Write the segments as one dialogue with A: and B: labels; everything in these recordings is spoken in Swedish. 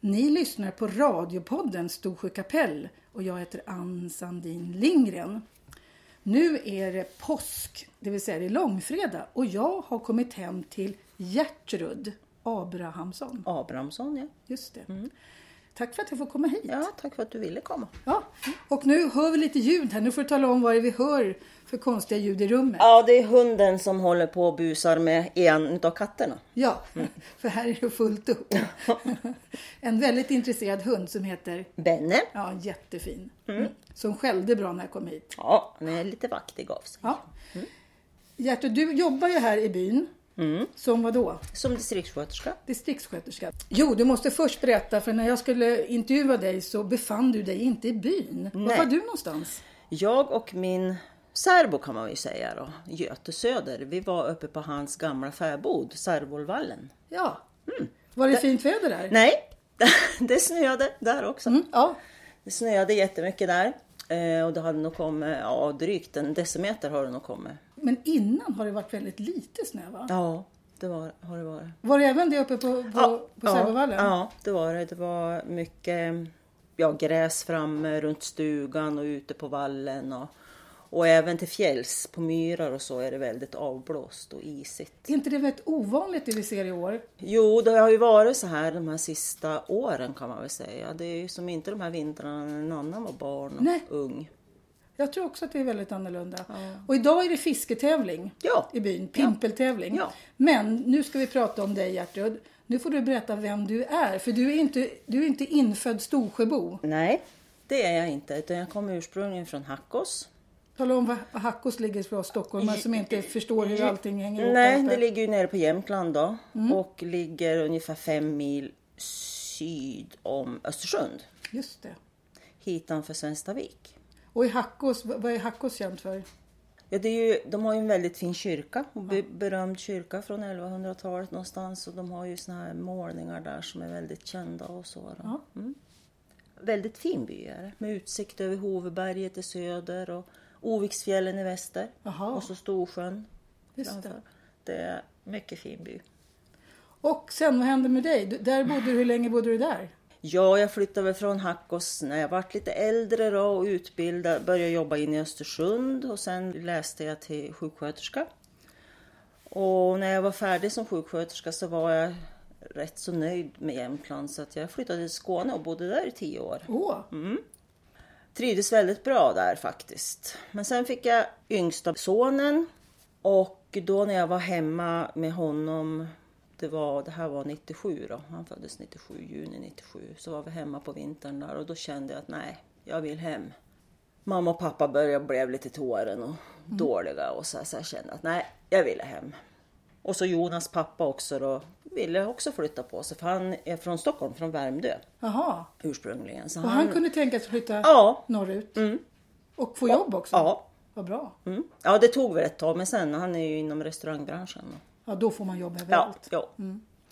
A: Ni lyssnar på radiopodden Storsjö kapell och jag heter Ann Sandin Lindgren. Nu är det påsk, det vill säga det är långfredag och jag har kommit hem till Gertrud Abrahamsson.
B: Abrahamsson, ja.
A: Just det. Tack för att jag får komma hit.
B: Ja, tack för att du ville komma.
A: Ja. Och nu hör vi lite ljud här. Nu får du tala om vad det är vi hör för konstiga ljud i rummet.
B: Ja, det är hunden som håller på och busar med en av katterna.
A: Ja, för här är det fullt upp. en väldigt intresserad hund som heter,
B: Benne.
A: ja jättefin, Mm. som skällde bra när jag kom hit.
B: Ja, han är lite vaktig av sig.
A: Ja. Gertrud, du jobbar ju här i byn.
B: Mm.
A: Som vad då?
B: Som distriktssköterska.
A: Distriktssköterska. Jo, du måste först berätta, för när jag skulle intervjua dig så befann du dig inte i byn. Var
B: Nej.
A: var du någonstans?
B: Jag och min särbo kan man ju säga då, Göte Söder, vi var uppe på hans gamla fäbod, Särvolvallen.
A: Ja. Var det fint väder där?
B: Mm. Nej, det snöade där också.
A: Mm, ja.
B: Det snöade jättemycket där. Eh, Och det hade nog kommit, ja drygt en decimeter har det nog kommit.
A: Men innan har det varit väldigt lite snö va?
B: Ja, det var, har det varit.
A: Var det även det uppe på, på, på Sävevallen?
B: Ja, det var det. Det var mycket ja, gräs framme runt stugan och ute på vallen. Och, och även till fjälls på myrar och så är det väldigt avblåst och isigt.
A: Är inte det väldigt ovanligt det vi ser i år?
B: Jo, det har ju varit så här de här sista åren kan man väl säga. Det är ju som inte de här vintrarna när någon annan var barn och
A: Nej.
B: ung.
A: Jag tror också att det är väldigt annorlunda. Och idag är det fisketävling
B: Ja.
A: i byn, pimpeltävling.
B: Ja.
A: Men nu ska vi prata om dig Gertrud. Nu får du berätta vem du är, för du är inte, du är inte infödd Storsjöbo.
B: Nej, det är jag inte. Utan jag kommer ursprungligen från Hackås.
A: Tala om var var Hackås ligger för oss stockholmare som inte förstår hur allting hänger ihop.
B: Nej,
A: allt
B: det
A: där.
B: ligger ju nere på Jämtland då
A: Mm.
B: och ligger ungefär fem mil syd om Östersund,
A: Just det.
B: hitanför Svenstavik.
A: Och i Hackås, v- vad är Hackås känt för?
B: Ja, det är ju, de har ju en väldigt fin kyrka, och be, berömd kyrka från 1100-talet någonstans och de har ju såna här målningar där som är väldigt kända och så. Då.
A: Ja.
B: Mm. Väldigt fin by är det, med utsikt över Hoveberget i söder och Oviksfjällen i väster
A: Jaha.
B: och så Storsjön
A: Just det.
B: framför. Det är mycket fin by.
A: Och sen, vad hände med dig? Du, där bodde du, hur länge bodde du där?
B: Ja, jag flyttade väl från Hackås när jag vart lite äldre då och utbildade, började jobba in i Östersund och sen läste jag till sjuksköterska. Och när jag var färdig som sjuksköterska så var jag rätt så nöjd med Jämtland så att jag flyttade till Skåne och bodde där i tio år.
A: Åh,
B: Mm. Trivdes väldigt bra där faktiskt. Men sen fick jag yngsta sonen och då när jag var hemma med honom, det, var, det här var 97 då, han föddes 97, juni 97, så var vi hemma på vintern där och då kände jag att nej, jag vill hem. Mamma och pappa började bli lite till åren och dåliga och så, här, så jag kände att nej, jag ville hem. Och så Jonas pappa också då, ville också flytta på sig för han är från Stockholm, från Värmdö
A: jaha.
B: ursprungligen. Så
A: Och han kunde tänka sig att flytta
B: Ja. Mm.
A: norrut? Och få jobb också?
B: Ja,
A: Vad bra.
B: Mm. Ja, det tog väl ett tag, men sen han är ju inom restaurangbranschen.
A: Ja, då får man jobb
B: Ja,
A: överallt.
B: ja.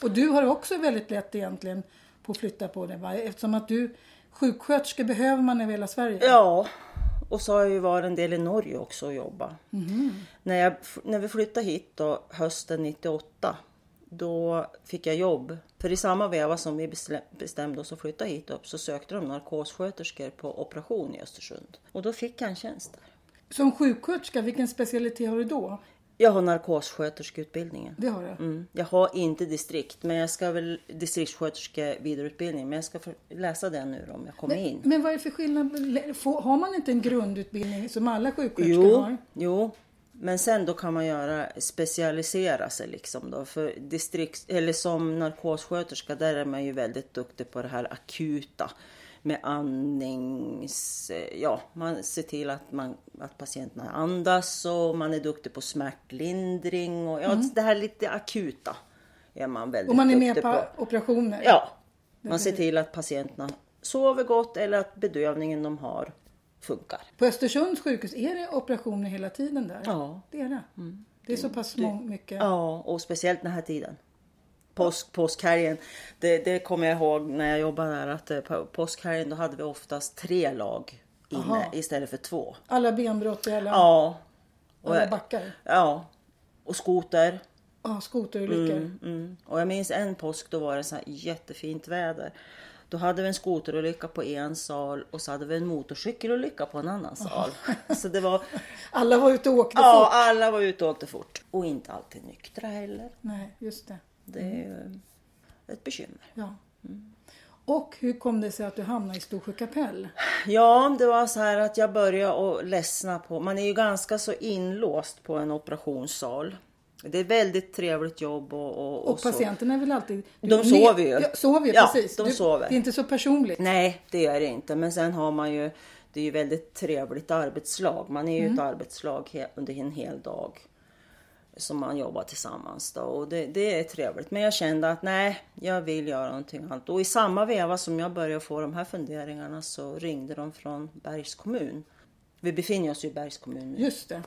A: Och du har också väldigt lätt egentligen på att flytta på det va? Eftersom att du sjuksköterska behöver man över hela Sverige.
B: ja, och så har jag ju varit en del i Norge också och jobbat. När, jag, när vi flyttade hit då, hösten 98, då fick jag jobb. För i samma veva som vi beslä- bestämde oss att flytta hit upp så sökte de narkossköterskor på operation i Östersund. Och då fick jag en tjänst där.
A: Som sjuksköterska, vilken specialitet har du då?
B: Jag har narkossköterskeutbildningen.
A: Det har du.
B: Mm. Jag har inte distrikt, men jag ska väl distriktssköterske vidareutbildning. Men jag ska för- läsa den nu då, om jag kommer in.
A: Men vad är det för skillnad? Får- Har man inte en grundutbildning som alla sjuksköterskor
B: Jo,
A: har?
B: jo, men sen då kan man göra specialisera sig liksom då. För distrikt, eller som narkossköterska, där är man ju väldigt duktig på det här akuta med andnings... Ja, man ser till att, man, att patienterna andas och man är duktig på smärtlindring och ja, det här lite akuta är man väldigt
A: Mm. Och man är med
B: duktig
A: på operationer?
B: Ja, man ser till att patienterna sover gott eller att bedövningen de har funkar.
A: På Östersunds sjukhus, är det operationer hela tiden där?
B: Ja. Mm.
A: Det är det? Det är så pass mång- mycket?
B: Ja, och speciellt den här tiden. Påsk, påskhelgen, det, det kommer jag ihåg när jag jobbade där att eh, på påskhelgen då hade vi oftast tre lag inne
A: Aha.
B: istället för två.
A: Alla benbrott i alla,
B: Ja. Och,
A: alla backar?
B: ja, och skoter.
A: Ja, skoterolyckor.
B: Mm. Och jag minns en påsk, då var det så här jättefint väder. Då hade vi en skoterolycka på en sal och så hade vi en motorcykelolycka på en annan sal. Så det var,
A: Alla var ute och åkte
B: ja,
A: fort.
B: alla var ute och åkte fort. Och inte alltid nyktra heller.
A: Nej, just det.
B: Det är
A: Mm.
B: ju ett bekymmer.
A: Ja.
B: Mm.
A: Och hur kom det sig att du hamnade i Storsjö kapell?
B: Ja, det var så här att jag började och ledsna på... Man är ju ganska så inlåst på en operationssal. Det är väldigt trevligt jobb och, och,
A: Och,
B: och så.
A: patienterna är väl alltid... du
B: De
A: är
B: sover ju.
A: Ja, sover ju,
B: Ja,
A: precis.
B: de
A: du,
B: sover.
A: Det är inte så personligt.
B: Nej, det är det inte. Men sen har man ju, det är ju väldigt trevligt arbetslag. Man är ju ett arbetslag he- under en hel dag som man jobbar tillsammans då och det, det är trevligt. Men jag kände att nej, jag vill göra någonting annat. Och i samma veva som jag började få de här funderingarna så ringde de från Bergs kommun. Vi befinner oss ju i Bergs kommun nu
A: Just det.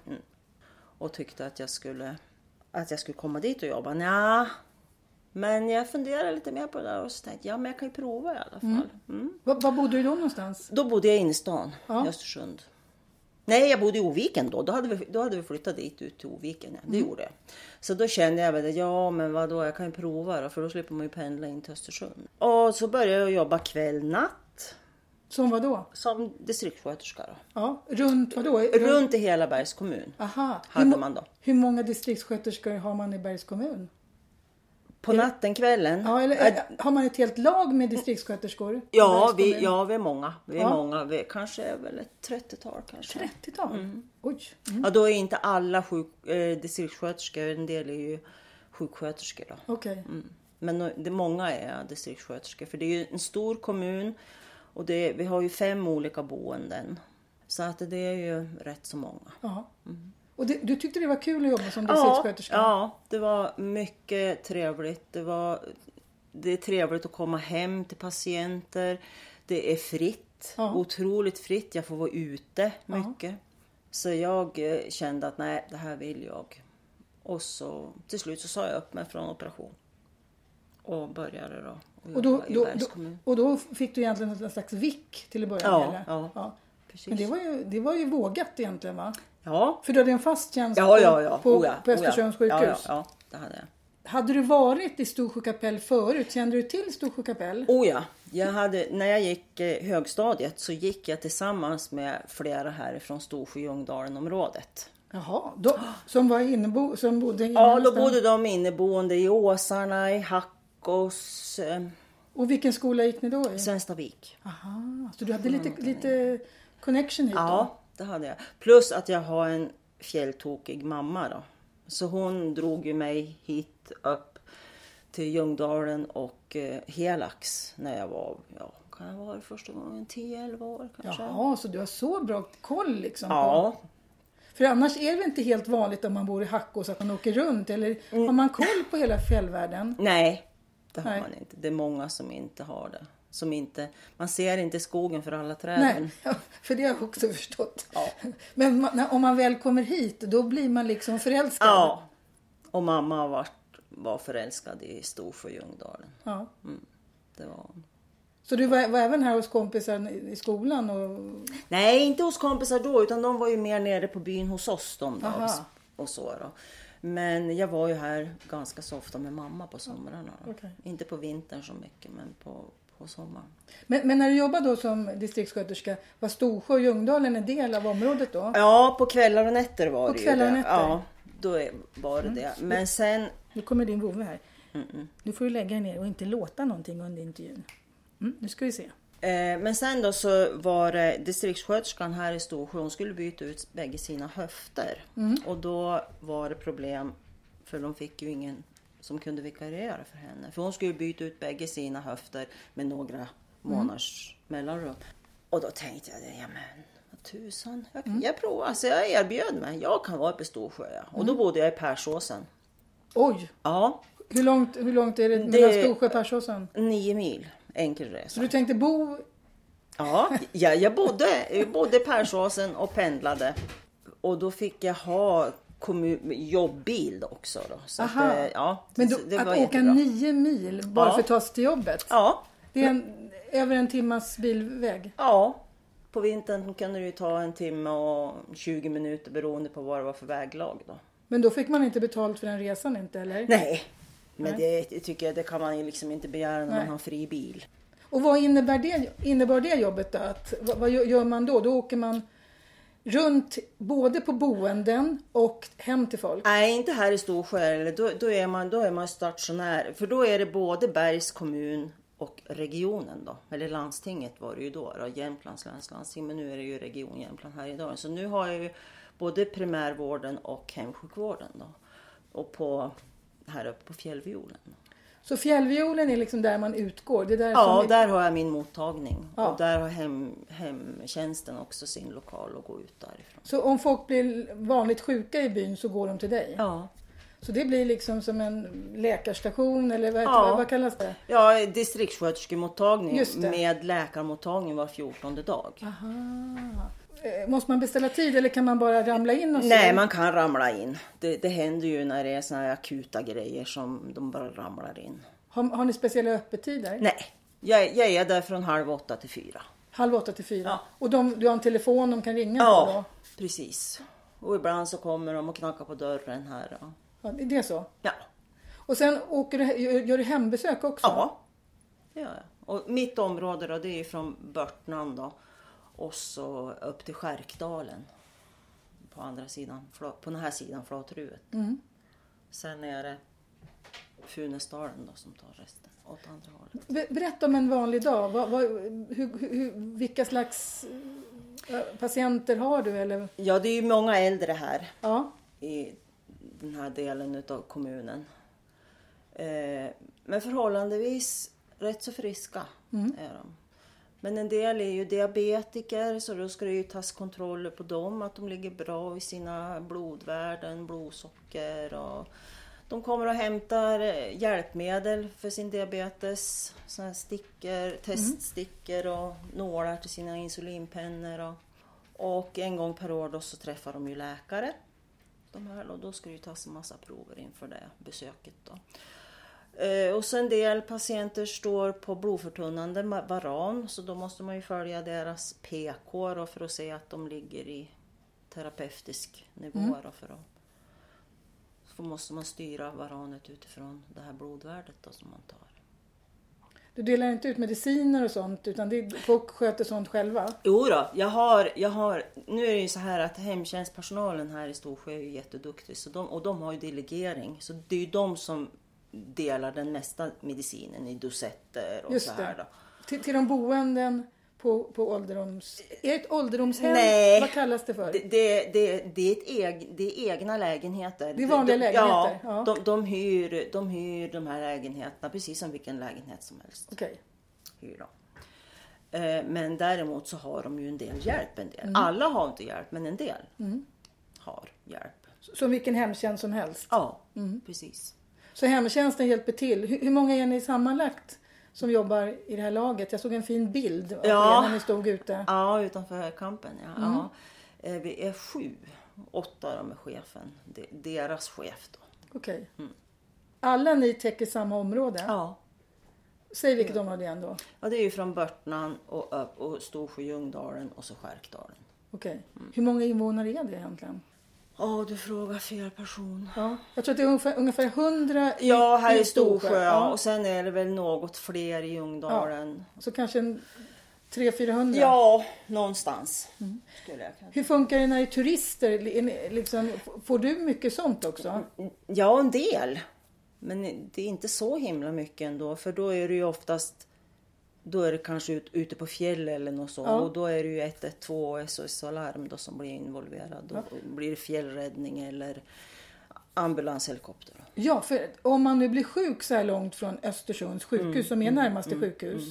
B: och tyckte att jag skulle, att jag skulle komma dit och jobba. Nja, men jag funderade lite mer på det där och så tänkte jag, ja men jag kan ju prova i alla fall. Mm.
A: Var, var bodde du då någonstans?
B: Då bodde jag inne i stan
A: Ja.
B: i Östersund. Nej, jag bodde i Oviken då. Då hade vi, då hade vi flyttat dit ut till Oviken. Ja. Det
A: Mm.
B: gjorde jag. Så då kände jag väl att, ja men vadå, jag kan ju prova då, för då slipper man ju pendla in till Östersund. Och så började jag jobba kväll, natt
A: Som var då?
B: som distriktssköterska då.
A: Ja, runt vad då?
B: Runt i hela Bergs kommun.
A: Aha.
B: hade
A: hur, mo-
B: man då.
A: Hur många distriktssköterskor har man i Bergs kommun?
B: På natten, kvällen.
A: Mm. Ja, eller, eh,
B: Äh,
A: har man ett helt lag med distriktssköterskor? i
B: ja,
A: Bergs
B: vi,
A: kommun?
B: ja, vi är många. Vi är
A: Ja.
B: många. Vi, kanske är väl ett 30-tal kanske.
A: 30-tal?
B: Mm.
A: Oj. Mm.
B: Ja, då är inte alla sjuk, eh, distriktssköterskor, en del är ju sjuksköterskor då.
A: Okej.
B: Mm. Men no- det, många är distriktssköterskor för det är ju en stor kommun och det, vi har ju fem olika boenden. Så att det är ju rätt så många.
A: Ja.
B: Mm.
A: Och det, du tyckte det var kul att jobba som distriktssköterska?
B: ja, det var mycket trevligt. Det, var, det är trevligt att komma hem till patienter. Det är fritt,
A: Ja.
B: otroligt fritt. Jag får vara ute mycket. Så jag eh, kände att nej, det här vill jag. Och så till slut så sa jag upp mig från operation. Och började då att
A: Och då,
B: jobba Mm, i
A: då,
B: Bergs
A: då,
B: kommun.
A: och då fick du egentligen en slags vick till att börja
B: Ja,
A: med?
B: ja. Precis.
A: Men det var, ju, det var ju vågat egentligen va?
B: Ja,
A: För du hade en fast tjänst
B: ja, ja. ja.
A: Alltså på,
B: Oh ja,
A: på
B: oh ja.
A: Östersunds
B: Ja, ja,
A: sjukhus.
B: ja, det hade jag.
A: Hade du varit i Storsjö kapell förut? Kände du till Storsjö kapell?
B: Oh ja, jag hade, när jag gick eh, högstadiet så gick jag tillsammans med flera härifrån Storsjö Ljungdalenområdet. Mm,
A: Jaha, då, som var innebo, som bodde inne
B: Ja, då
A: någonstans.
B: bodde de inneboende i Åsarna, i Hackås, eh,
A: Och vilken skola gick ni då i?
B: Svenstavik.
A: Aha, så du hade lite, lite connection hit då?
B: Ja, det hade jag. Plus att jag har en fjälltokig mamma då. Så hon drog ju mig hit upp till Ljungdalen och eh, Helax när jag var, ja, kan jag vara första gången 10-11 år kanske?
A: Jaha, så du har så bra koll liksom? på-
B: ja
A: För annars är det inte helt vanligt om man bor i Hackås att man åker runt eller har man koll på hela fjällvärlden?
B: Nej, det har
A: Nej.
B: man inte. Det är många som inte har det. Som inte, man ser inte skogen för alla träden.
A: Nej, ja, för det har jag också förstått. Men man, när, om man väl kommer hit då blir man liksom förälskad.
B: Ja. Och mamma har varit, var förälskad i Storsjö Ljungdalen.
A: Ja.
B: Det var hon.
A: Så du var, var även här hos kompisar i i skolan? Och,
B: Nej, inte hos kompisar då, utan de var ju mer nere på byn hos oss. De då,
A: Aha.
B: och så då. Men jag var ju här ganska så ofta med mamma på somrarna. då.
A: Okej.
B: Inte på vintern så mycket, men på, på sommaren.
A: men, men när du jobbade då som distriktssköterska, var Storsjö och Ljungdalen en del av området då?
B: Ja, på kvällar och nätter var
A: På
B: det
A: kvällar och
B: ju det.
A: nätter. Mm.
B: Ja, då är- var det det. Men sen
A: Nu kommer din vovve här. Nu får du lägga dig ner och inte låta någonting under intervjun. Mm, nu ska vi se.
B: Eh, Men sen då så var det distriktssköterskan här i Storsjö, hon skulle byta ut bägge sina höfter. Och då var det problem, för de fick ju ingen som kunde vikariera för henne. För hon skulle byta ut bägge sina höfter med några månaders mellanrum. Och då tänkte jag, ja men vad tusan, jag, jag provar. Så jag erbjöd mig, jag kan vara uppe i Storsjö. Ja. Och då bodde jag i Persåsen.
A: Oj,
B: Ja,
A: hur långt, hur långt är det mellan Storsjö och Persåsen?
B: nio mil enkel resa.
A: Så du tänkte bo...
B: Ja, jag, jag bodde, jag bodde i Persåsen och pendlade. Och då fick jag ha kommun, jobbbil också. Då. Så att,
A: Aha.
B: eh, ja,
A: Men då,
B: så det
A: att
B: var
A: åka
B: jättebra.
A: nio mil bara
B: Ja.
A: för att ta sig till jobbet?
B: Ja,
A: Det är en, över en timmas bilväg.
B: ja. På vintern kunde det ju ta en timme och 20 minuter beroende på vad det var för väglag. Då.
A: Men då fick man inte betalt för den resan inte eller?
B: Nej, men det tycker jag det kan man ju liksom inte begära när man har fri bil.
A: Och vad innebär det, innebar det jobbet då? Att, vad, vad gör man då? Då åker man runt både på boenden och hem till folk.
B: Nej, inte här i Storsjö. eller Då, då, är man, då är man stationär. För då är det både Bergs kommun och regionen då. Eller landstinget var det ju då. då Jämtlands läns landsting. Men nu är det ju Region Jämtland här idag. Så nu har jag ju både primärvården och hemsjukvården då. Och på, här uppe på fjällviolen.
A: Så fjällviolen är liksom där man utgår. Det är där
B: Ja,
A: som ni-
B: där har jag min mottagning.
A: Ja.
B: Och där har hem, hemtjänsten också sin lokal och går ut därifrån.
A: Så om folk blir vanligt sjuka i byn så går de till dig?
B: Ja.
A: Så det blir liksom som en läkarstation eller vad,
B: Ja.
A: vad, vad kallas det?
B: Ja, distriktssköterskemottagning
A: Just det.
B: med läkarmottagning var 14 dag.
A: Aha. Eh, Måste man beställa tid eller kan man bara ramla in och se?
B: Nej, man kan ramla in. Det, det händer ju när det är såna här akuta grejer som de bara ramlar in.
A: Har, har ni speciella öppettider?
B: Nej, jag, jag är där från halv åtta till fyra.
A: Halv åtta till fyra?
B: Ja.
A: Och de, du har en telefon de kan ringa på då?
B: Ja, precis. Och ibland så kommer de och knackar på dörren här. och-
A: Ja, det- Det är så?
B: Ja,
A: Och sen åker du, gör- gör du hembesök också?
B: ja det gör jag. Och mitt område då, det är ju från Börtnan då och så upp till Skärkdalen. På andra sidan, Fla- på den här sidan Flatruet.
A: Mm.
B: Sen är det Funäsdalen då som tar resten åt andra hållet.
A: Be- Berätta om en vanlig dag. Vad, vad, hur, hur- hur, vilka slags eh, patienter har du? Eller?
B: Ja, det är ju många äldre här
A: Ja.
B: i den här delen av kommunen. Eh, men förhållandevis rätt så friska är de. Men en del är ju diabetiker så då ska det ju tas kontroller på dem, att de ligger bra i sina blodvärden, blodsocker och de kommer och hämtar eh, hjälpmedel för sin diabetes, såna här stickor, teststickor och nålar till sina insulinpennor. Och, och en gång per år då så träffar de ju läkare de här och då ska det ju tas en massa prover inför det besöket. Då. Eh, och så en del patienter står på blodförtunnande ma- varan så då måste man ju följa deras PK då, för att se att de ligger i terapeutisk nivå. Då, för att, så måste man styra varanet utifrån det här blodvärdet då, som man tar.
A: Du delar inte ut mediciner och sånt utan det är, folk sköter sånt själva?
B: Jo då, jag har, jag har, nu är det ju så här att hemtjänstpersonalen här i Storsjö är ju jätteduktig så de, och de har ju delegering. Så det är ju de som delar den mesta medicinen i dosetter och
A: Just
B: så här
A: det.
B: då.
A: Till, till de boenden på, på ålderdoms... Är det ett ålderdomshem?
B: Nej.
A: Vad kallas det för?
B: Det, det, det, det, är ett eg, det är egna lägenheter.
A: Det är vanliga
B: de,
A: lägenheter, ja.
B: Ja, de, de, hyr, de hyr de här lägenheterna precis som vilken lägenhet som helst.
A: Okej.
B: Hyr de. Eh, Men däremot så har de ju en del hjälp. En del.
A: Mm.
B: Alla har inte hjälp, men en del har hjälp.
A: Som vilken hemtjänst som helst.
B: Ja, precis.
A: Så hemtjänsten hjälper till. Hur, hur många är ni sammanlagt som jobbar i det här laget? Jag såg en fin bild av
B: Ja.
A: er när ni stod ute.
B: Ja, utanför kampen. Ja. Ja. Eh, Vi är sju. Åtta av dem är chefen. De- Deras chef då.
A: Okej. Alla ni täcker samma område?
B: Mm. Ja.
A: Säg vilket område igen då.
B: ja, det är ju från Börtnan och upp och Storsjö, Ljungdalen och så Skärkdalen.
A: Okej.
B: Mm.
A: Hur många invånare är det egentligen?
B: Ja, du frågar fel person.
A: Ja. Jag tror att det är ungefär, ungefär 100 i,
B: Ja, här i
A: Storsjö.
B: Storsjö. Ja.
A: Ja.
B: Och sen är det väl något fler i Ljungdalen.
A: Så kanske en 300-400?
B: Ja, Mm. någonstans. Skulle jag kunna.
A: Hur funkar det när det är turister? Är ni- Liksom, får du mycket sånt
B: Mm.
A: också?
B: Ja, en del. Men det är inte så himla mycket ändå. För då är det ju oftast då är det kanske ut, ute på fjäll eller något så.
A: Ja.
B: Och då är det ju 112 och SOS Alarm då som blir involverad. Då blir det fjällräddning eller ambulanshelikopter. då.
A: Ja, för om man nu blir sjuk så här långt från Östersunds sjukhus
B: Mm,
A: som är närmaste sjukhus.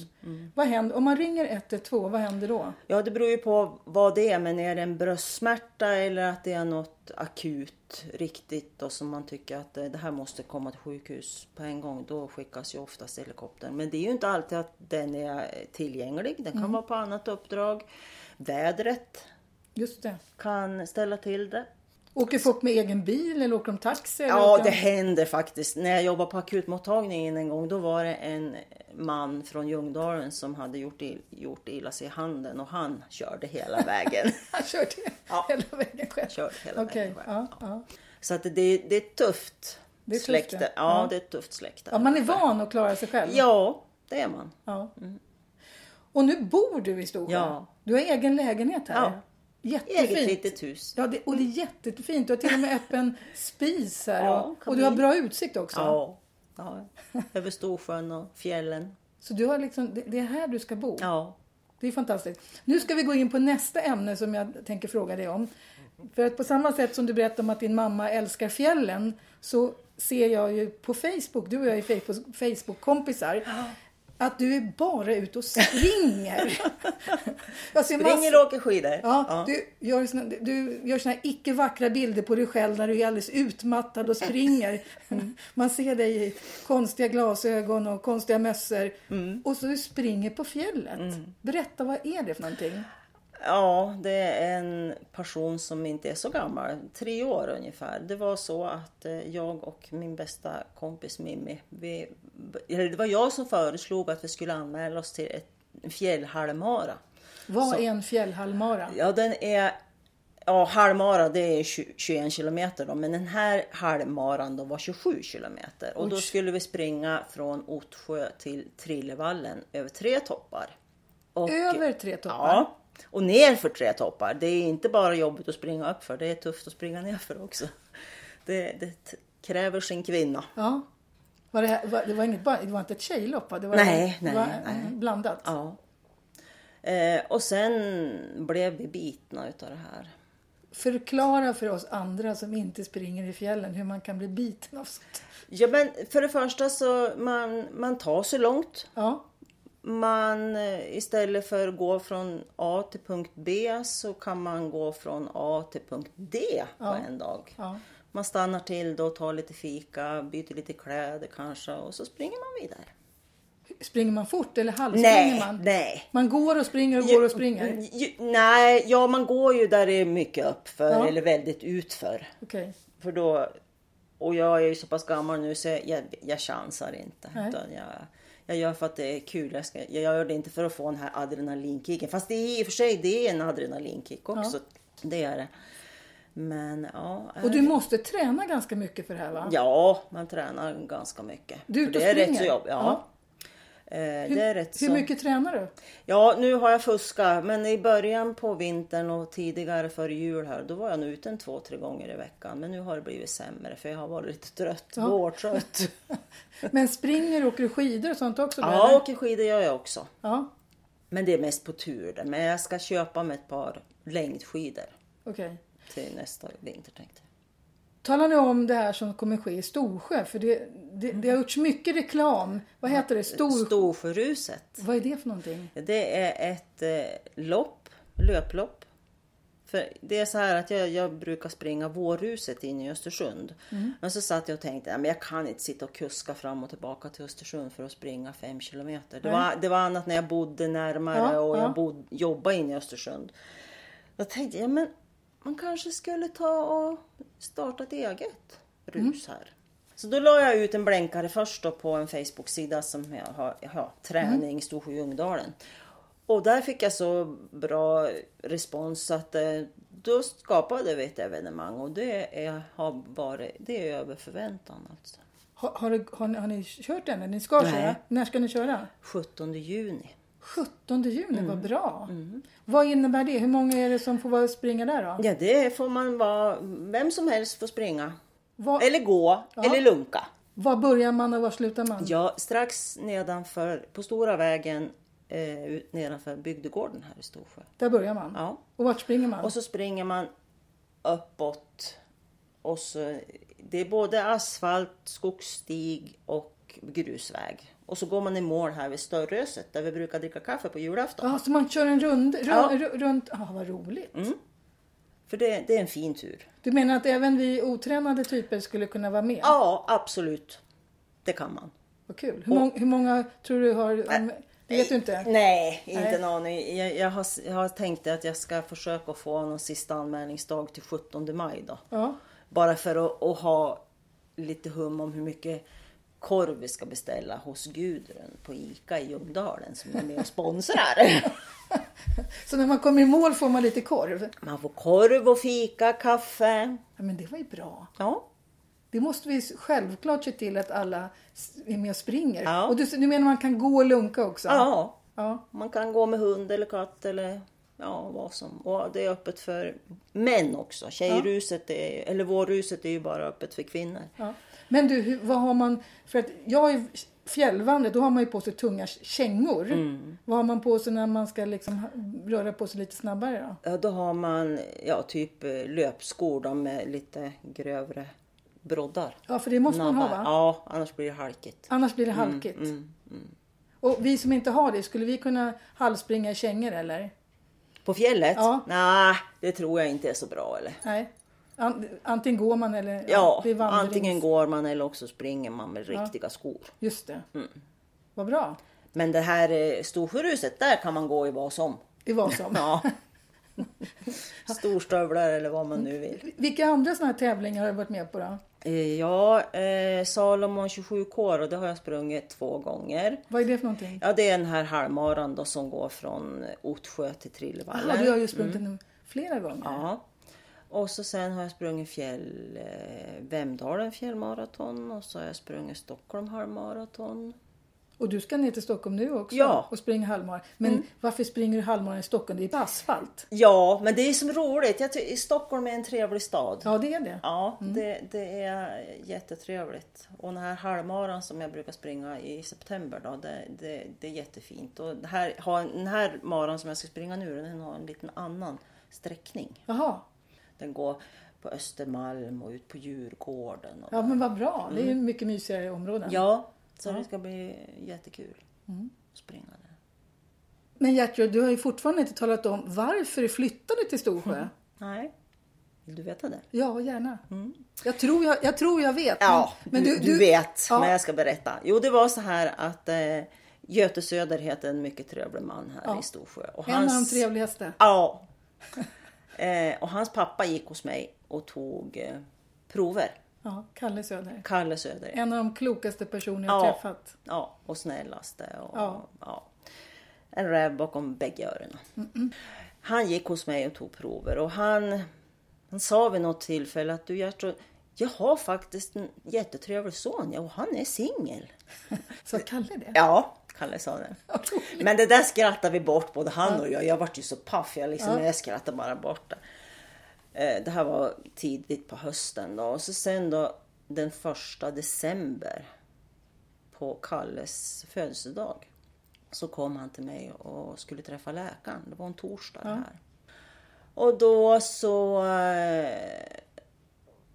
A: Vad händer, om man ringer 112, vad händer då?
B: Ja, det beror ju på vad det är. Men är det en bröstsmärta eller att det är något akut riktigt då som man tycker att eh, det här måste komma till sjukhus på en gång. Då skickas ju oftast helikoptern. Men det är ju inte alltid att den är tillgänglig. Den kan vara på annat uppdrag. Vädret
A: Just det.
B: kan ställa till det.
A: Åker folk med egen bil eller åker de taxi? eller
B: Ja,
A: åker de-
B: det händer faktiskt. När jag jobbade på akutmottagningen en gång, då var det en man från Ljungdalen som hade gjort, ill, gjort illa sig i handen och han körde hela vägen.
A: Han körde
B: Ja.
A: hela vägen själv?
B: Körde hela
A: Okej,
B: vägen själv.
A: ja, ja.
B: Så att det, det är ett tufft
A: Det är tufft,
B: släkte.
A: ja.
B: ja,
A: Ja.
B: det är ett tufft släkte.
A: Ja, man är van att klara sig själv.
B: Ja, det är man.
A: Ja. Och nu bor du i Storsjö.
B: Ja.
A: Du har egen lägenhet här.
B: Ja.
A: Jättefint.
B: Eget litet hus.
A: Ja, det, och det är jättefint. Du har till och med öppen spis här.
B: Ja,
A: och,
B: kan
A: och du har
B: bli.
A: bra utsikt också.
B: Ja. ja. Över Storsjön och fjällen.
A: Så du har liksom, det, det är här du ska bo.
B: Ja.
A: Det är fantastiskt. Nu ska vi gå in på nästa ämne som jag tänker fråga dig om. För att på samma sätt som du berättade om att din mamma älskar fjällen så ser jag ju på Facebook, du och jag är Facebook- Facebook-kompisar, att du är bara ute och springer. jag ser massor-
B: Ringer och åker skidor.
A: Ja, Du, gör såna, du gör såna här icke vackra bilder på dig själv när du är alldeles utmattad och springer.
B: Mm.
A: Man ser dig i konstiga glasögon och konstiga mössor.
B: Mm.
A: Och så du springer på fjället. Berätta, vad är det för någonting?
B: Ja, det är en person som inte är så gammal, tre år ungefär. Det var så att eh, jag och min bästa kompis Mimmi, vi, eller det var jag som föreslog att vi skulle anmäla oss till ett en fjällhalmara.
A: Vad är en fjällhalmara?
B: Ja, den är... Ja, halvmara det är 20 21 kilometer då, men den här halvmaran då var 27 kilometer. Och då skulle vi springa från Ottsjö till Trillevallen över tre toppar. Och-
A: Över tre toppar?
B: Ja, och ner för tre toppar. Det är inte bara jobbigt att springa upp för, det är tufft att springa ner för också. Det, det t- kräver sin kvinna.
A: Ja. Var det, här, var, det, var inget, bara- det var inte ett tjejlopp? va? Det var,
B: Nej,
A: det var,
B: nej, nej.
A: mm, Blandat?
B: Ja. Eh, och sen blev vi bitna utav det här.
A: Förklara för oss andra som inte springer i fjällen hur man kan bli biten av sånt.
B: Ja, men för det första så man, man tar sig långt.
A: Ja,
B: Man eh, istället för att gå från A till punkt B så kan man gå från A till punkt D på en dag.
A: ja.
B: Man stannar till då, tar lite fika, byter lite kläder kanske och så springer man vidare.
A: Springer man fort eller halvspringer
B: Nej, mm.
A: man?
B: nej.
A: Man går och springer och går och springer.
B: Ju- Nej, ja man går ju där det är mycket uppför
A: Ja.
B: eller väldigt utför.
A: Okej.
B: För då, och jag är ju så pass gammal nu så jag, jag chansar inte.
A: Nej.
B: Utan jag, jag gör för att det är kul. Jag, ska, jag gör det inte för att få den här adrenalinkicken. Fast det är i och för sig det är en adrenalinkick också. Det är det. Men ja. eh,
A: Och du måste träna ganska mycket för det här va?
B: Ja, man tränar ganska mycket.
A: Du är
B: För
A: ute och
B: det är rätt
A: springer?
B: så jobbigt. Ja. Eh,
A: Hur,
B: det är rätt
A: hur
B: så...
A: mycket tränar du?
B: Ja, nu har jag fuskat, men i början på vintern och tidigare före jul här, då var jag nog ute en två, tre gånger i veckan. Men nu har det blivit sämre för jag har varit lite trött, vårtrött.
A: Men springer och åker skidor och sånt också? då,
B: ja,
A: eller?
B: åker skidor gör jag också.
A: ja.
B: Men det är mest på tur det. Men jag ska köpa mig ett par längdskidor
A: Okej.
B: till nästa vinter tänkte jag.
A: Tala nu om det här som kommer ske i Storsjö för det, det, det har gjorts mycket reklam. Vad heter det? Stor...
B: Storsjöruset.
A: Vad är det för någonting?
B: Det är ett eh, lopp, löplopp. För det är så här att jag, jag brukar springa vårruset inne i Östersund.
A: Mm.
B: Men så satt jag och tänkte, "Nej, men jag kan inte sitta och kuska fram och tillbaka till Östersund för att springa fem kilometer. Det var, det var annat när jag bodde närmare
A: Ja,
B: och jag
A: ja.
B: bod, jobbade inne i Östersund. Jag tänkte, ja men man kanske skulle ta och starta ett eget rus här. Så då la jag ut en blänkare först då på en Facebook-sida som jag har, jag har träning Storsjö i Ungdalen. Och där fick jag så bra respons att eh, då skapade vi ett evenemang och det är, har varit, det är över förväntan alltså.
A: Har, har, du- har, ni- har ni kört den? Eller Ni ska
B: Nej.
A: köra? När ska ni köra?
B: 17 juni.
A: 17 juni,
B: Mm.
A: vad bra! Vad innebär det? Hur många är det som får vara och springa där då?
B: Ja, det får man vara, vem som helst får springa.
A: Vad-
B: Eller gå, eller lunka.
A: Var börjar man och var slutar man?
B: Ja, strax nedanför, på stora vägen eh, ut nedanför bygdegården här i Storsjö.
A: Där börjar man.
B: Ja.
A: Och vart springer man?
B: Och så springer man uppåt. Och så, det är både asfalt, skogsstig och grusväg. Och så går man i mål här vid Störröset där vi brukar dricka kaffe på julafton.
A: Ja, så man kör en rund, rund,
B: Ja. Mm.
A: ru- runt... Ja, vad roligt.
B: För det, det är en fin tur.
A: Du menar att även vi otränade typer skulle kunna vara med?
B: Ja, absolut. Det kan man.
A: Vad kul. Hur, mång, hur många tror du har... Om, det vet du inte?
B: Nej, inte
A: Nej.
B: en aning. Jag, jag, har, jag har tänkt att jag ska försöka få någon sista anmälningsdag till 17 maj då.
A: Ja.
B: Bara för att, att ha lite hum om hur mycket korv vi ska beställa hos Gudrun på ICA i Ljungdalen som är med och sponsrar.
A: Så när man kommer i mål får man lite korv.
B: Man får korv och fika, kaffe.
A: Ja, men det var ju bra.
B: Ja,
A: Det måste vi självklart se till att alla s- är med och springer.
B: Ja.
A: Och du, du menar man kan gå och lunka också?
B: ja.
A: Ja.
B: man kan gå med hund eller katt eller ja, vad som. Och det är öppet för män också. Tjejruset, är, eller vårruset, är ju bara öppet för kvinnor.
A: ja. Men du, hur, vad har man... För att jag är fjällvandrare, då har man ju på sig tunga k- kängor.
B: Mm.
A: Vad har man på sig när man ska liksom ha- röra på sig lite snabbare då?
B: Ja, då har man ja, typ eh, löpskor då, med lite grövre broddar.
A: Ja, för det måste man ha
B: Nabbar.
A: va?
B: Ja, Mm, annars blir det halkigt.
A: Annars blir det halkigt. Och vi som inte har det, skulle vi kunna halvspringa i kängor eller?
B: På fjället?
A: Ja.
B: Nej, det tror jag inte är så bra. Eller?
A: Nej. An, antingen går man eller...
B: Ja,
A: det är vandrings-
B: antingen går man eller också springer man med riktiga skor.
A: Just det.
B: Mm.
A: Vad bra.
B: Men det här eh, Storsjöruset, där kan man gå i vad som.
A: Det var som.
B: Ja. Storstövlar eller vad man nu vill.
A: Vilka andra sådana här tävlingar har du varit med på då?
B: Eh, Ja, eh, Salomon 27K och det har jag sprungit två gånger.
A: Vad är det för någonting?
B: Ja, det är den här halvmaran då som går från Ottsjö till Trillevallen.
A: Aha, du har ju sprungit den flera gånger.
B: Ja. Eh, Och så sen har jag sprungit fjäll, eh, Vemdalen fjällmaraton och så har jag sprungit Stockholm halvmaraton.
A: Och du ska ner till Stockholm nu också
B: Ja. Mm.
A: och springa halvmaran. Men varför springer du halvmaran i Stockholm? Det är på asfalt.
B: Ja, men det är som roligt. Jag ty- Stockholm är en trevlig stad.
A: Ja, det är det.
B: Ja, det, det är jättetrevligt. Och den här halvmaran som jag brukar springa i september, då, det, det, det är jättefint. Och det här, har, den här maran som jag ska springa nu, den har en liten annan sträckning.
A: Jaha.
B: Den går på Östermalm och ut på Djurgården. Och
A: Ja, men vad bra. Det är ju mycket mysigare områden.
B: Mm. ja, så det ska bli jättekul att springa där.
A: Men Gertrud, du har ju fortfarande inte talat om varför du flyttade till Storsjö.
B: Mm. Nej, vill du veta det?
A: Ja, gärna. Jag, tror jag, jag tror jag vet.
B: Mm. Ja, du, du, vet.
A: Ja.
B: Men jag ska berätta. Jo, det var så här att eh, Göte Söder heter en mycket trevlig man här i Storsjö. Och
A: en av de trevligaste.
B: Ja. Eh, och hans pappa gick hos mig och tog eh, prover.
A: Ja, Kalle Söder.
B: Kalle Söder.
A: En av de klokaste personer jag
B: Ja.
A: träffat.
B: Ja, och snällaste. Och,
A: Ja.
B: ja. En räv bakom bägge öronen. Han gick hos mig och tog prover och han, han sa vid något tillfälle att du Gertrud, jag har faktiskt en jättetrevlig son ja, och han är singel.
A: Så Kalle det?
B: Ja, Kalle sa det.
A: roligt.
B: Men det där skrattade vi bort både han och jag. Jag vart ju så paff, jag, liksom, jag skrattade bara bort det. Eh, Det här var tidigt på hösten då. Och så sen då den första december på Kalles födelsedag så kom han till mig och skulle träffa läkaren. Det var en torsdag det här. Och då så eh,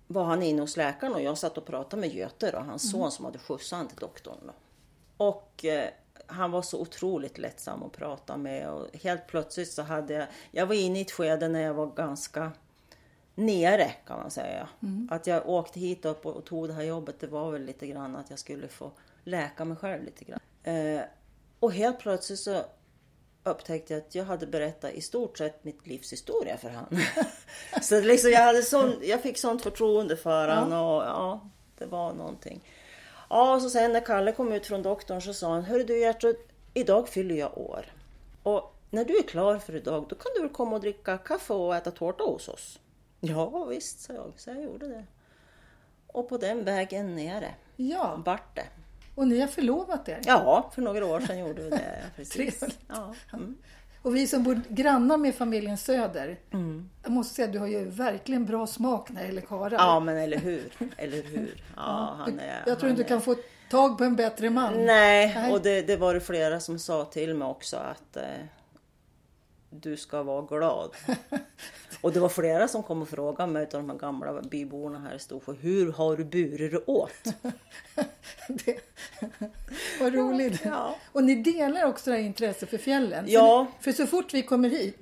B: var han inne hos läkaren och jag satt och pratade med Göte och hans son som hade skjutsat han till doktorn. Då. Och eh, han var så otroligt lättsam att prata med och helt plötsligt så hade jag, jag var inne i ett skede när jag var ganska nere kan man säga. Att jag åkte hit upp och, och tog det här jobbet det var väl lite grann att jag skulle få läka mig själv lite grann. Eh, och helt plötsligt så upptäckte jag att jag hade berättat i stort sett mitt livs historia för han. så liksom jag, hade sån, jag fick sånt förtroende för han och ja, det var någonting. Ja, och så sen när Kalle kom ut från doktorn så sa han, Hörru du Gertrud, idag fyller jag år. Och när du är klar för idag, då kan du väl komma och dricka kaffe och äta tårta hos oss? Ja visst, sa jag. Så jag gjorde det. Och på den vägen nere
A: Ja,
B: vart det.
A: och ni har förlovat er.
B: Ja, för några år sedan gjorde vi det. Precis.
A: Trevligt.
B: Ja.
A: Och vi som bor grannar med familjen Söder. Jag måste säga, du har ju verkligen bra smak när det gäller karlar.
B: Ja, men eller hur? Eller hur? Ja, han är,
A: jag tror
B: han
A: inte du
B: är-
A: kan få tag på en bättre man.
B: Nej, och det, det var det flera som sa till mig också att eh, du ska vara glad. och det var flera som kom och frågade mig utav de här gamla byborna här i Storsjö, hur har du burit det åt?
A: det, vad roligt.
B: Ja.
A: Och ni delar också det här intresset för fjällen.
B: Ja. Mm.
A: För, för så fort vi kommer hit,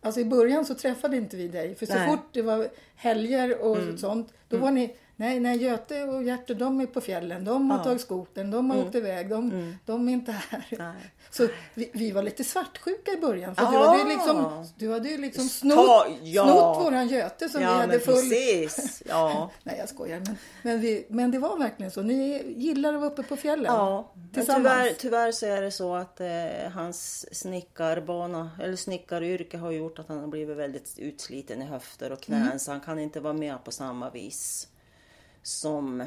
A: alltså i början så träffade inte vi dig. För så
B: Nej. Mm.
A: fort det var helger och sånt, då var ni Nej, nej, Göte och Gertrud de är på fjällen. De har tagit skotern, de har åkt iväg, de, de är inte här.
B: Mm. Nej.
A: Så vi, vi var lite svartsjuka i början. För du,
B: Ah.
A: hade ju liksom, du hade ju liksom snott,
B: ja.
A: snott våran Göte som vi
B: Ja,
A: hade
B: men
A: full...
B: precis. Ja.
A: Nej, jag skojar. Men, men, vi, men det var verkligen så. Ni gillar att vara uppe på fjällen
B: Ja, men
A: tillsammans.
B: tyvärr, tyvärr så är det så att eh, hans snickarbana, eller snickaryrke har gjort att han har blivit väldigt utsliten i höfter och knän
A: Mm.
B: så han kan inte vara med på samma vis som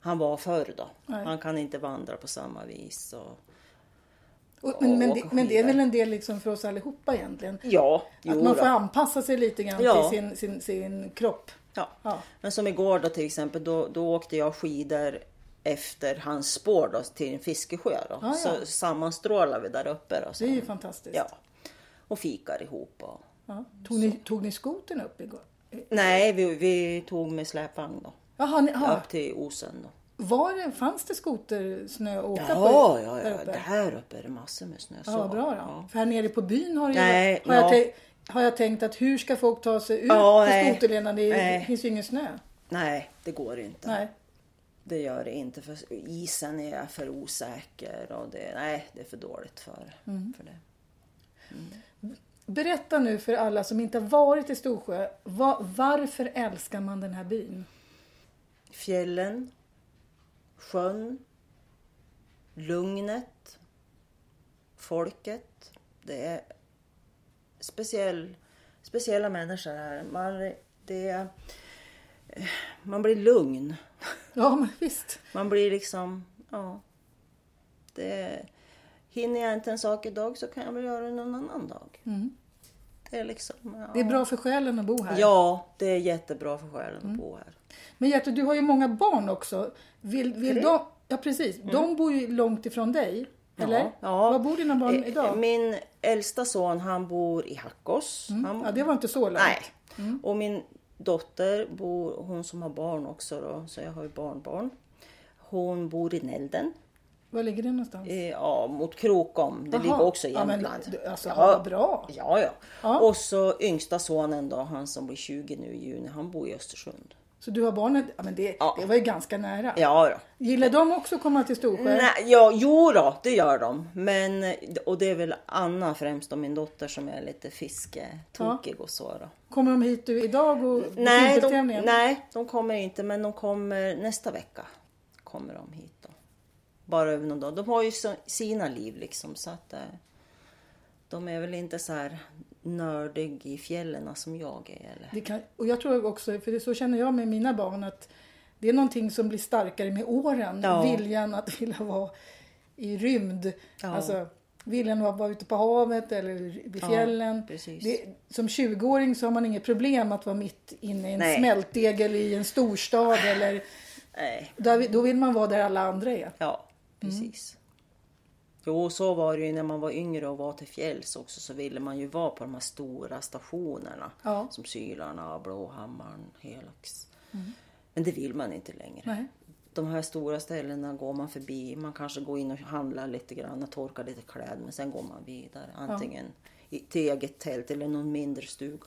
B: han var förr då.
A: Nej.
B: Han kan inte vandra på samma vis. Och...
A: Och, men, men,
B: och
A: det,
B: åka
A: men det är
B: skidor.
A: väl en del liksom för oss allihopa egentligen.
B: Ja,
A: att
B: jo
A: man får
B: då.
A: anpassa sig lite grann
B: Ja.
A: till sin, sin, sin kropp.
B: Ja.
A: Ja.
B: Men som igår då till exempel, då, då åkte jag skidor efter hans spår då, till en fiskesjö. Då.
A: Ah, ja.
B: Så sammanstrålade vi där uppe. Då, så.
A: Det är ju fantastiskt.
B: Ja. Och fikar ihop. Och...
A: Ja. Tog, ni, tog ni skotern upp igår?
B: Nej, vi, vi tog med släpvagn då.
A: Jaha, ni, ja.
B: Upp till Osen då.
A: Var det, fanns det skotersnö att åka på?
B: Ja, ja,
A: där
B: ja.
A: uppe?
B: Det här uppe är det massor med snö.
A: Ja, vad bra då. För här nere på byn har, det ju,
B: Nej,
A: har, jag,
B: ja.
A: tänkt- har jag tänkt att hur ska folk ta sig ut
B: Ja,
A: på
B: nej.
A: skoterleden? Det, är- det
B: Nej.
A: finns ju ingen snö.
B: Nej, det går inte.
A: Nej.
B: Det gör det inte. För isen är för osäker. Och det, nej, det är för dåligt för,
A: Mm.
B: för det.
A: Berätta nu för alla som inte har varit i Storsjö. va- varför älskar man den här byn?
B: Fjällen. Sjön. Lugnet. Folket. Det är speciell, speciella människor här. Man, det, är- eh, man blir lugn.
A: Ja, men visst.
B: Man blir liksom, ja. Det, hinner jag inte en sak idag så kan jag väl göra det någon annan dag. Det är liksom, ja.
A: Mm. Det är bra för själen att bo här.
B: Ja, det är jättebra för själen
A: Mm.
B: att bo här.
A: Men Gertrud, du har ju många barn också. Vill, vill de, ja, precis. De bor ju långt ifrån dig. Eller?
B: Mm. Ja, ja.
A: Var bor dina barn
B: Eh,
A: idag? Mm.
B: Min äldsta son han bor i Hackås. Han,
A: ja, det var inte så långt.
B: nej.
A: Mm.
B: Och min dotter, bor, hon som har barn också då, så jag har ju barnbarn. Hon bor i Nälden,
A: Var ligger det någonstans?
B: eh, ja, mot Krokom. Det
A: Jaha.
B: ligger också i
A: Ja, men
B: Jämtland.
A: du- alltså, vad bra.
B: Ja, ja.
A: Ja.
B: Och så yngsta sonen då, han som blir 20 nu i juni, han bor i Östersund.
A: Så du har barnet, ja, men det,
B: Ja.
A: det var ju ganska nära.
B: Ja, då.
A: Gillar de också att komma till Storsjö?
B: Nej, ja, jo då, det gör de. Men, och det är väl Anna främst och min dotter som är lite fisketokig och så då.
A: Kommer de hit du idag och
B: Nej de,
A: vintertävlingen?
B: nej, de kommer inte, men de kommer nästa vecka. Kommer de hit då. Bara över någon dag. De har ju så- sina liv liksom så att eh, de är väl inte så här nördig i fjällen som jag är. Eller?
A: Det kan, och jag tror också, för det, så känner jag med mina barn, att det är någonting som blir starkare med åren.
B: Ja.
A: Viljan att vilja vara i rymd.
B: Ja.
A: Alltså, viljan att vara ute på havet eller vid
B: Ja,
A: fjällen.
B: precis.
A: det, som 20-åring så har man inget problem att vara mitt inne i en
B: Nej.
A: smältdegel i en storstad. Eller,
B: Nej,
A: där, då vill man vara där alla andra är.
B: ja
A: Mm.
B: precis. Jo, så var det ju när man var yngre och var till fjälls också så ville man ju vara på de här stora stationerna.
A: Ja.
B: Som Sylarna, Blåhammaren, Helax. Men det vill man inte längre.
A: Mm. Nej.
B: De här stora ställena går man förbi. Man kanske går in och handlar lite grann och torkar lite kläder. Men sen går man vidare. Antingen i, till eget tält eller någon mindre stuga.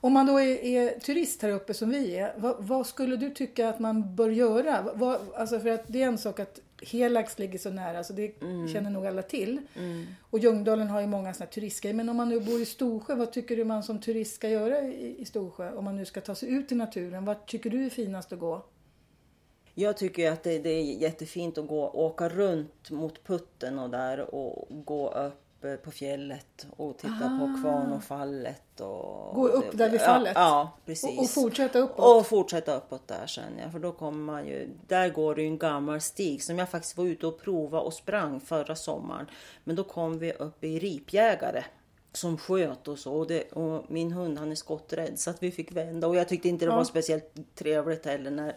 A: Om man då är, är turist här uppe som vi är, vad, vad skulle du tycka att man bör göra? Vad, alltså för att det är en sak att Helax ligger så nära, så det
B: Mm.
A: känner nog alla till. Och Ljungdalen har ju många såna här turistgrejer. Men om man nu bor i Storsjö, vad tycker du man som turist ska göra i, i Storsjö? Om man nu ska ta sig ut i naturen, vart tycker du är finast att gå?
B: Jag tycker ju att det, det är jättefint att gå, åka runt mot putten och där och gå upp eh, på fjället och titta på Kvarnåfallet. Och,
A: Gå upp där vid fallet?
B: Ja, ja precis.
A: Och, och fortsätta uppåt?
B: Och fortsätta uppåt där sen ja, för då kommer man ju, där går det ju en gammal stig som jag faktiskt var ute och prova och sprang förra sommaren. Men då kom vi upp i ripjägare som sköt och så och, det, och min hund han är skotträdd så att vi fick vända och jag tyckte inte det var speciellt trevligt heller när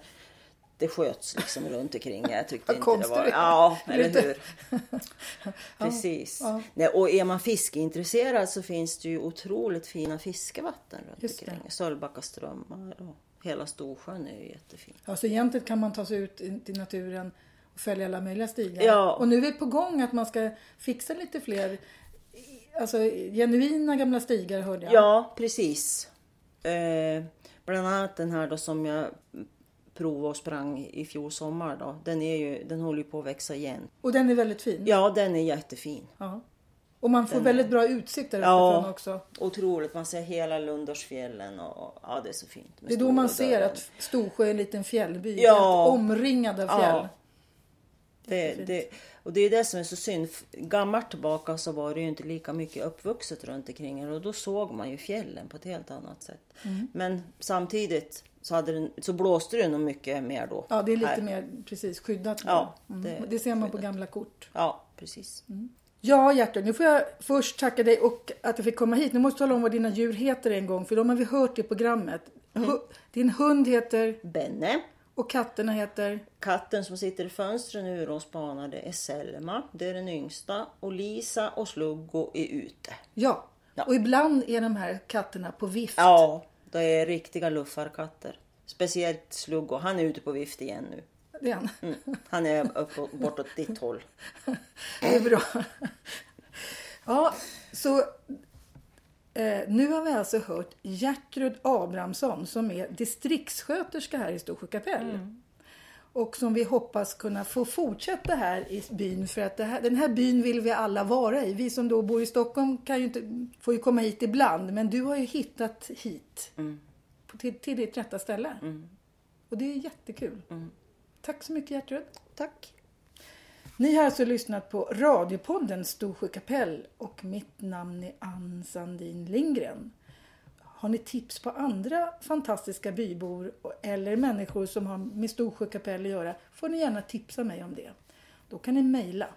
B: det sköts liksom runt omkring. Jag tyckte
A: Vad
B: inte det
A: konstigt
B: var...
A: det är.
B: Ja,
A: Det är
B: eller
A: inte-
B: hur. Precis.
A: ja.
B: Nej, och är man fiskeintresserad så finns det ju otroligt fina fiskevatten runt
A: Just det.
B: omkring. Sölvbacka strömmar och hela Storsjön är ju jättefin.
A: Ja, så Alltså, egentligen kan man ta sig ut i- till naturen och följa alla möjliga stigar.
B: Ja.
A: Och nu är det på gång att man ska fixa lite fler i- alltså, genuina gamla stigar hörde jag.
B: Ja, precis. Eh, bland annat den här då som jag prov och sprang i fjol sommar då. Den, är ju, den håller ju på att växa igen.
A: Och den är väldigt fin.
B: Ja, den är jättefin.
A: Ja. Och man får väldigt bra utsikt där
B: Ja.
A: uppifrån också.
B: Otroligt, man ser hela Lundarsfjällen och ja, det är så fint. med
A: Det är då man ser
B: Storlådörren.
A: att Storsjö är en liten fjällby.
B: Ja.
A: helt Omringad av fjäll.
B: Ja. Det, det, och det är det som är så synd. F- Gammalt tillbaka så var det ju inte lika mycket uppvuxet runt omkring här och då såg man ju fjällen på ett helt annat sätt.
A: Mm.
B: Men samtidigt så, hade den, så blåste det nog mycket mer då.
A: Ja, det är lite
B: här.
A: mer precis skyddat. nu.
B: Ja,
A: mm.
B: det är
A: det, ser man på gamla kort.
B: Ja, precis.
A: Mm. Ja, Gertrud, nu får jag först tacka dig och att jag fick komma hit. Nu måste du tala om vad dina djur heter en gång, för de har vi hört i programmet.
B: Mm.
A: Hu- Din hund heter
B: Benne,
A: och katterna heter...
B: katten som sitter i fönstren nu och spanar, det är Selma, det är den yngsta. Och Lisa och Sluggo är ute.
A: Ja.
B: Ja.
A: Och ibland är de här katterna på vift.
B: Ja, det är riktiga luffarkatter. Speciellt Sluggo, han är ute på vift igen nu.
A: Det är han.
B: Mm. Han är uppåt, bortåt ditt håll.
A: Det är bra. Ja, så eh, nu har vi alltså hört Gertrud Abrahamsson som är distriktssköterska här i Storsjö kapell. Och som vi hoppas kunna få fortsätta här i byn för att det här, den här byn vill vi alla vara i. Vi som då bor i Stockholm kan ju inte, får ju komma hit ibland men du har ju hittat hit. På, till, till ditt rätta ställe. Och det är jättekul. Tack så mycket Gertrud.
B: Tack.
A: Ni har alltså lyssnat på radiopodden Storsjö kapell och mitt namn är Ann Sandin Lindgren. Har ni tips på andra fantastiska bybor och- eller människor som har med Storsjö kapell att göra får ni gärna tipsa mig om det. Då kan ni mejla.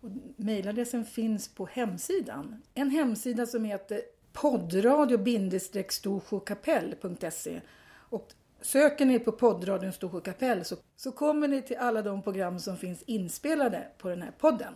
A: Och Mejladressen finns på hemsidan. En hemsida som heter poddradio-storsjökapell.se och söker ni på poddradion Storsjö kapell så, så kommer ni till alla de program som finns inspelade på den här podden.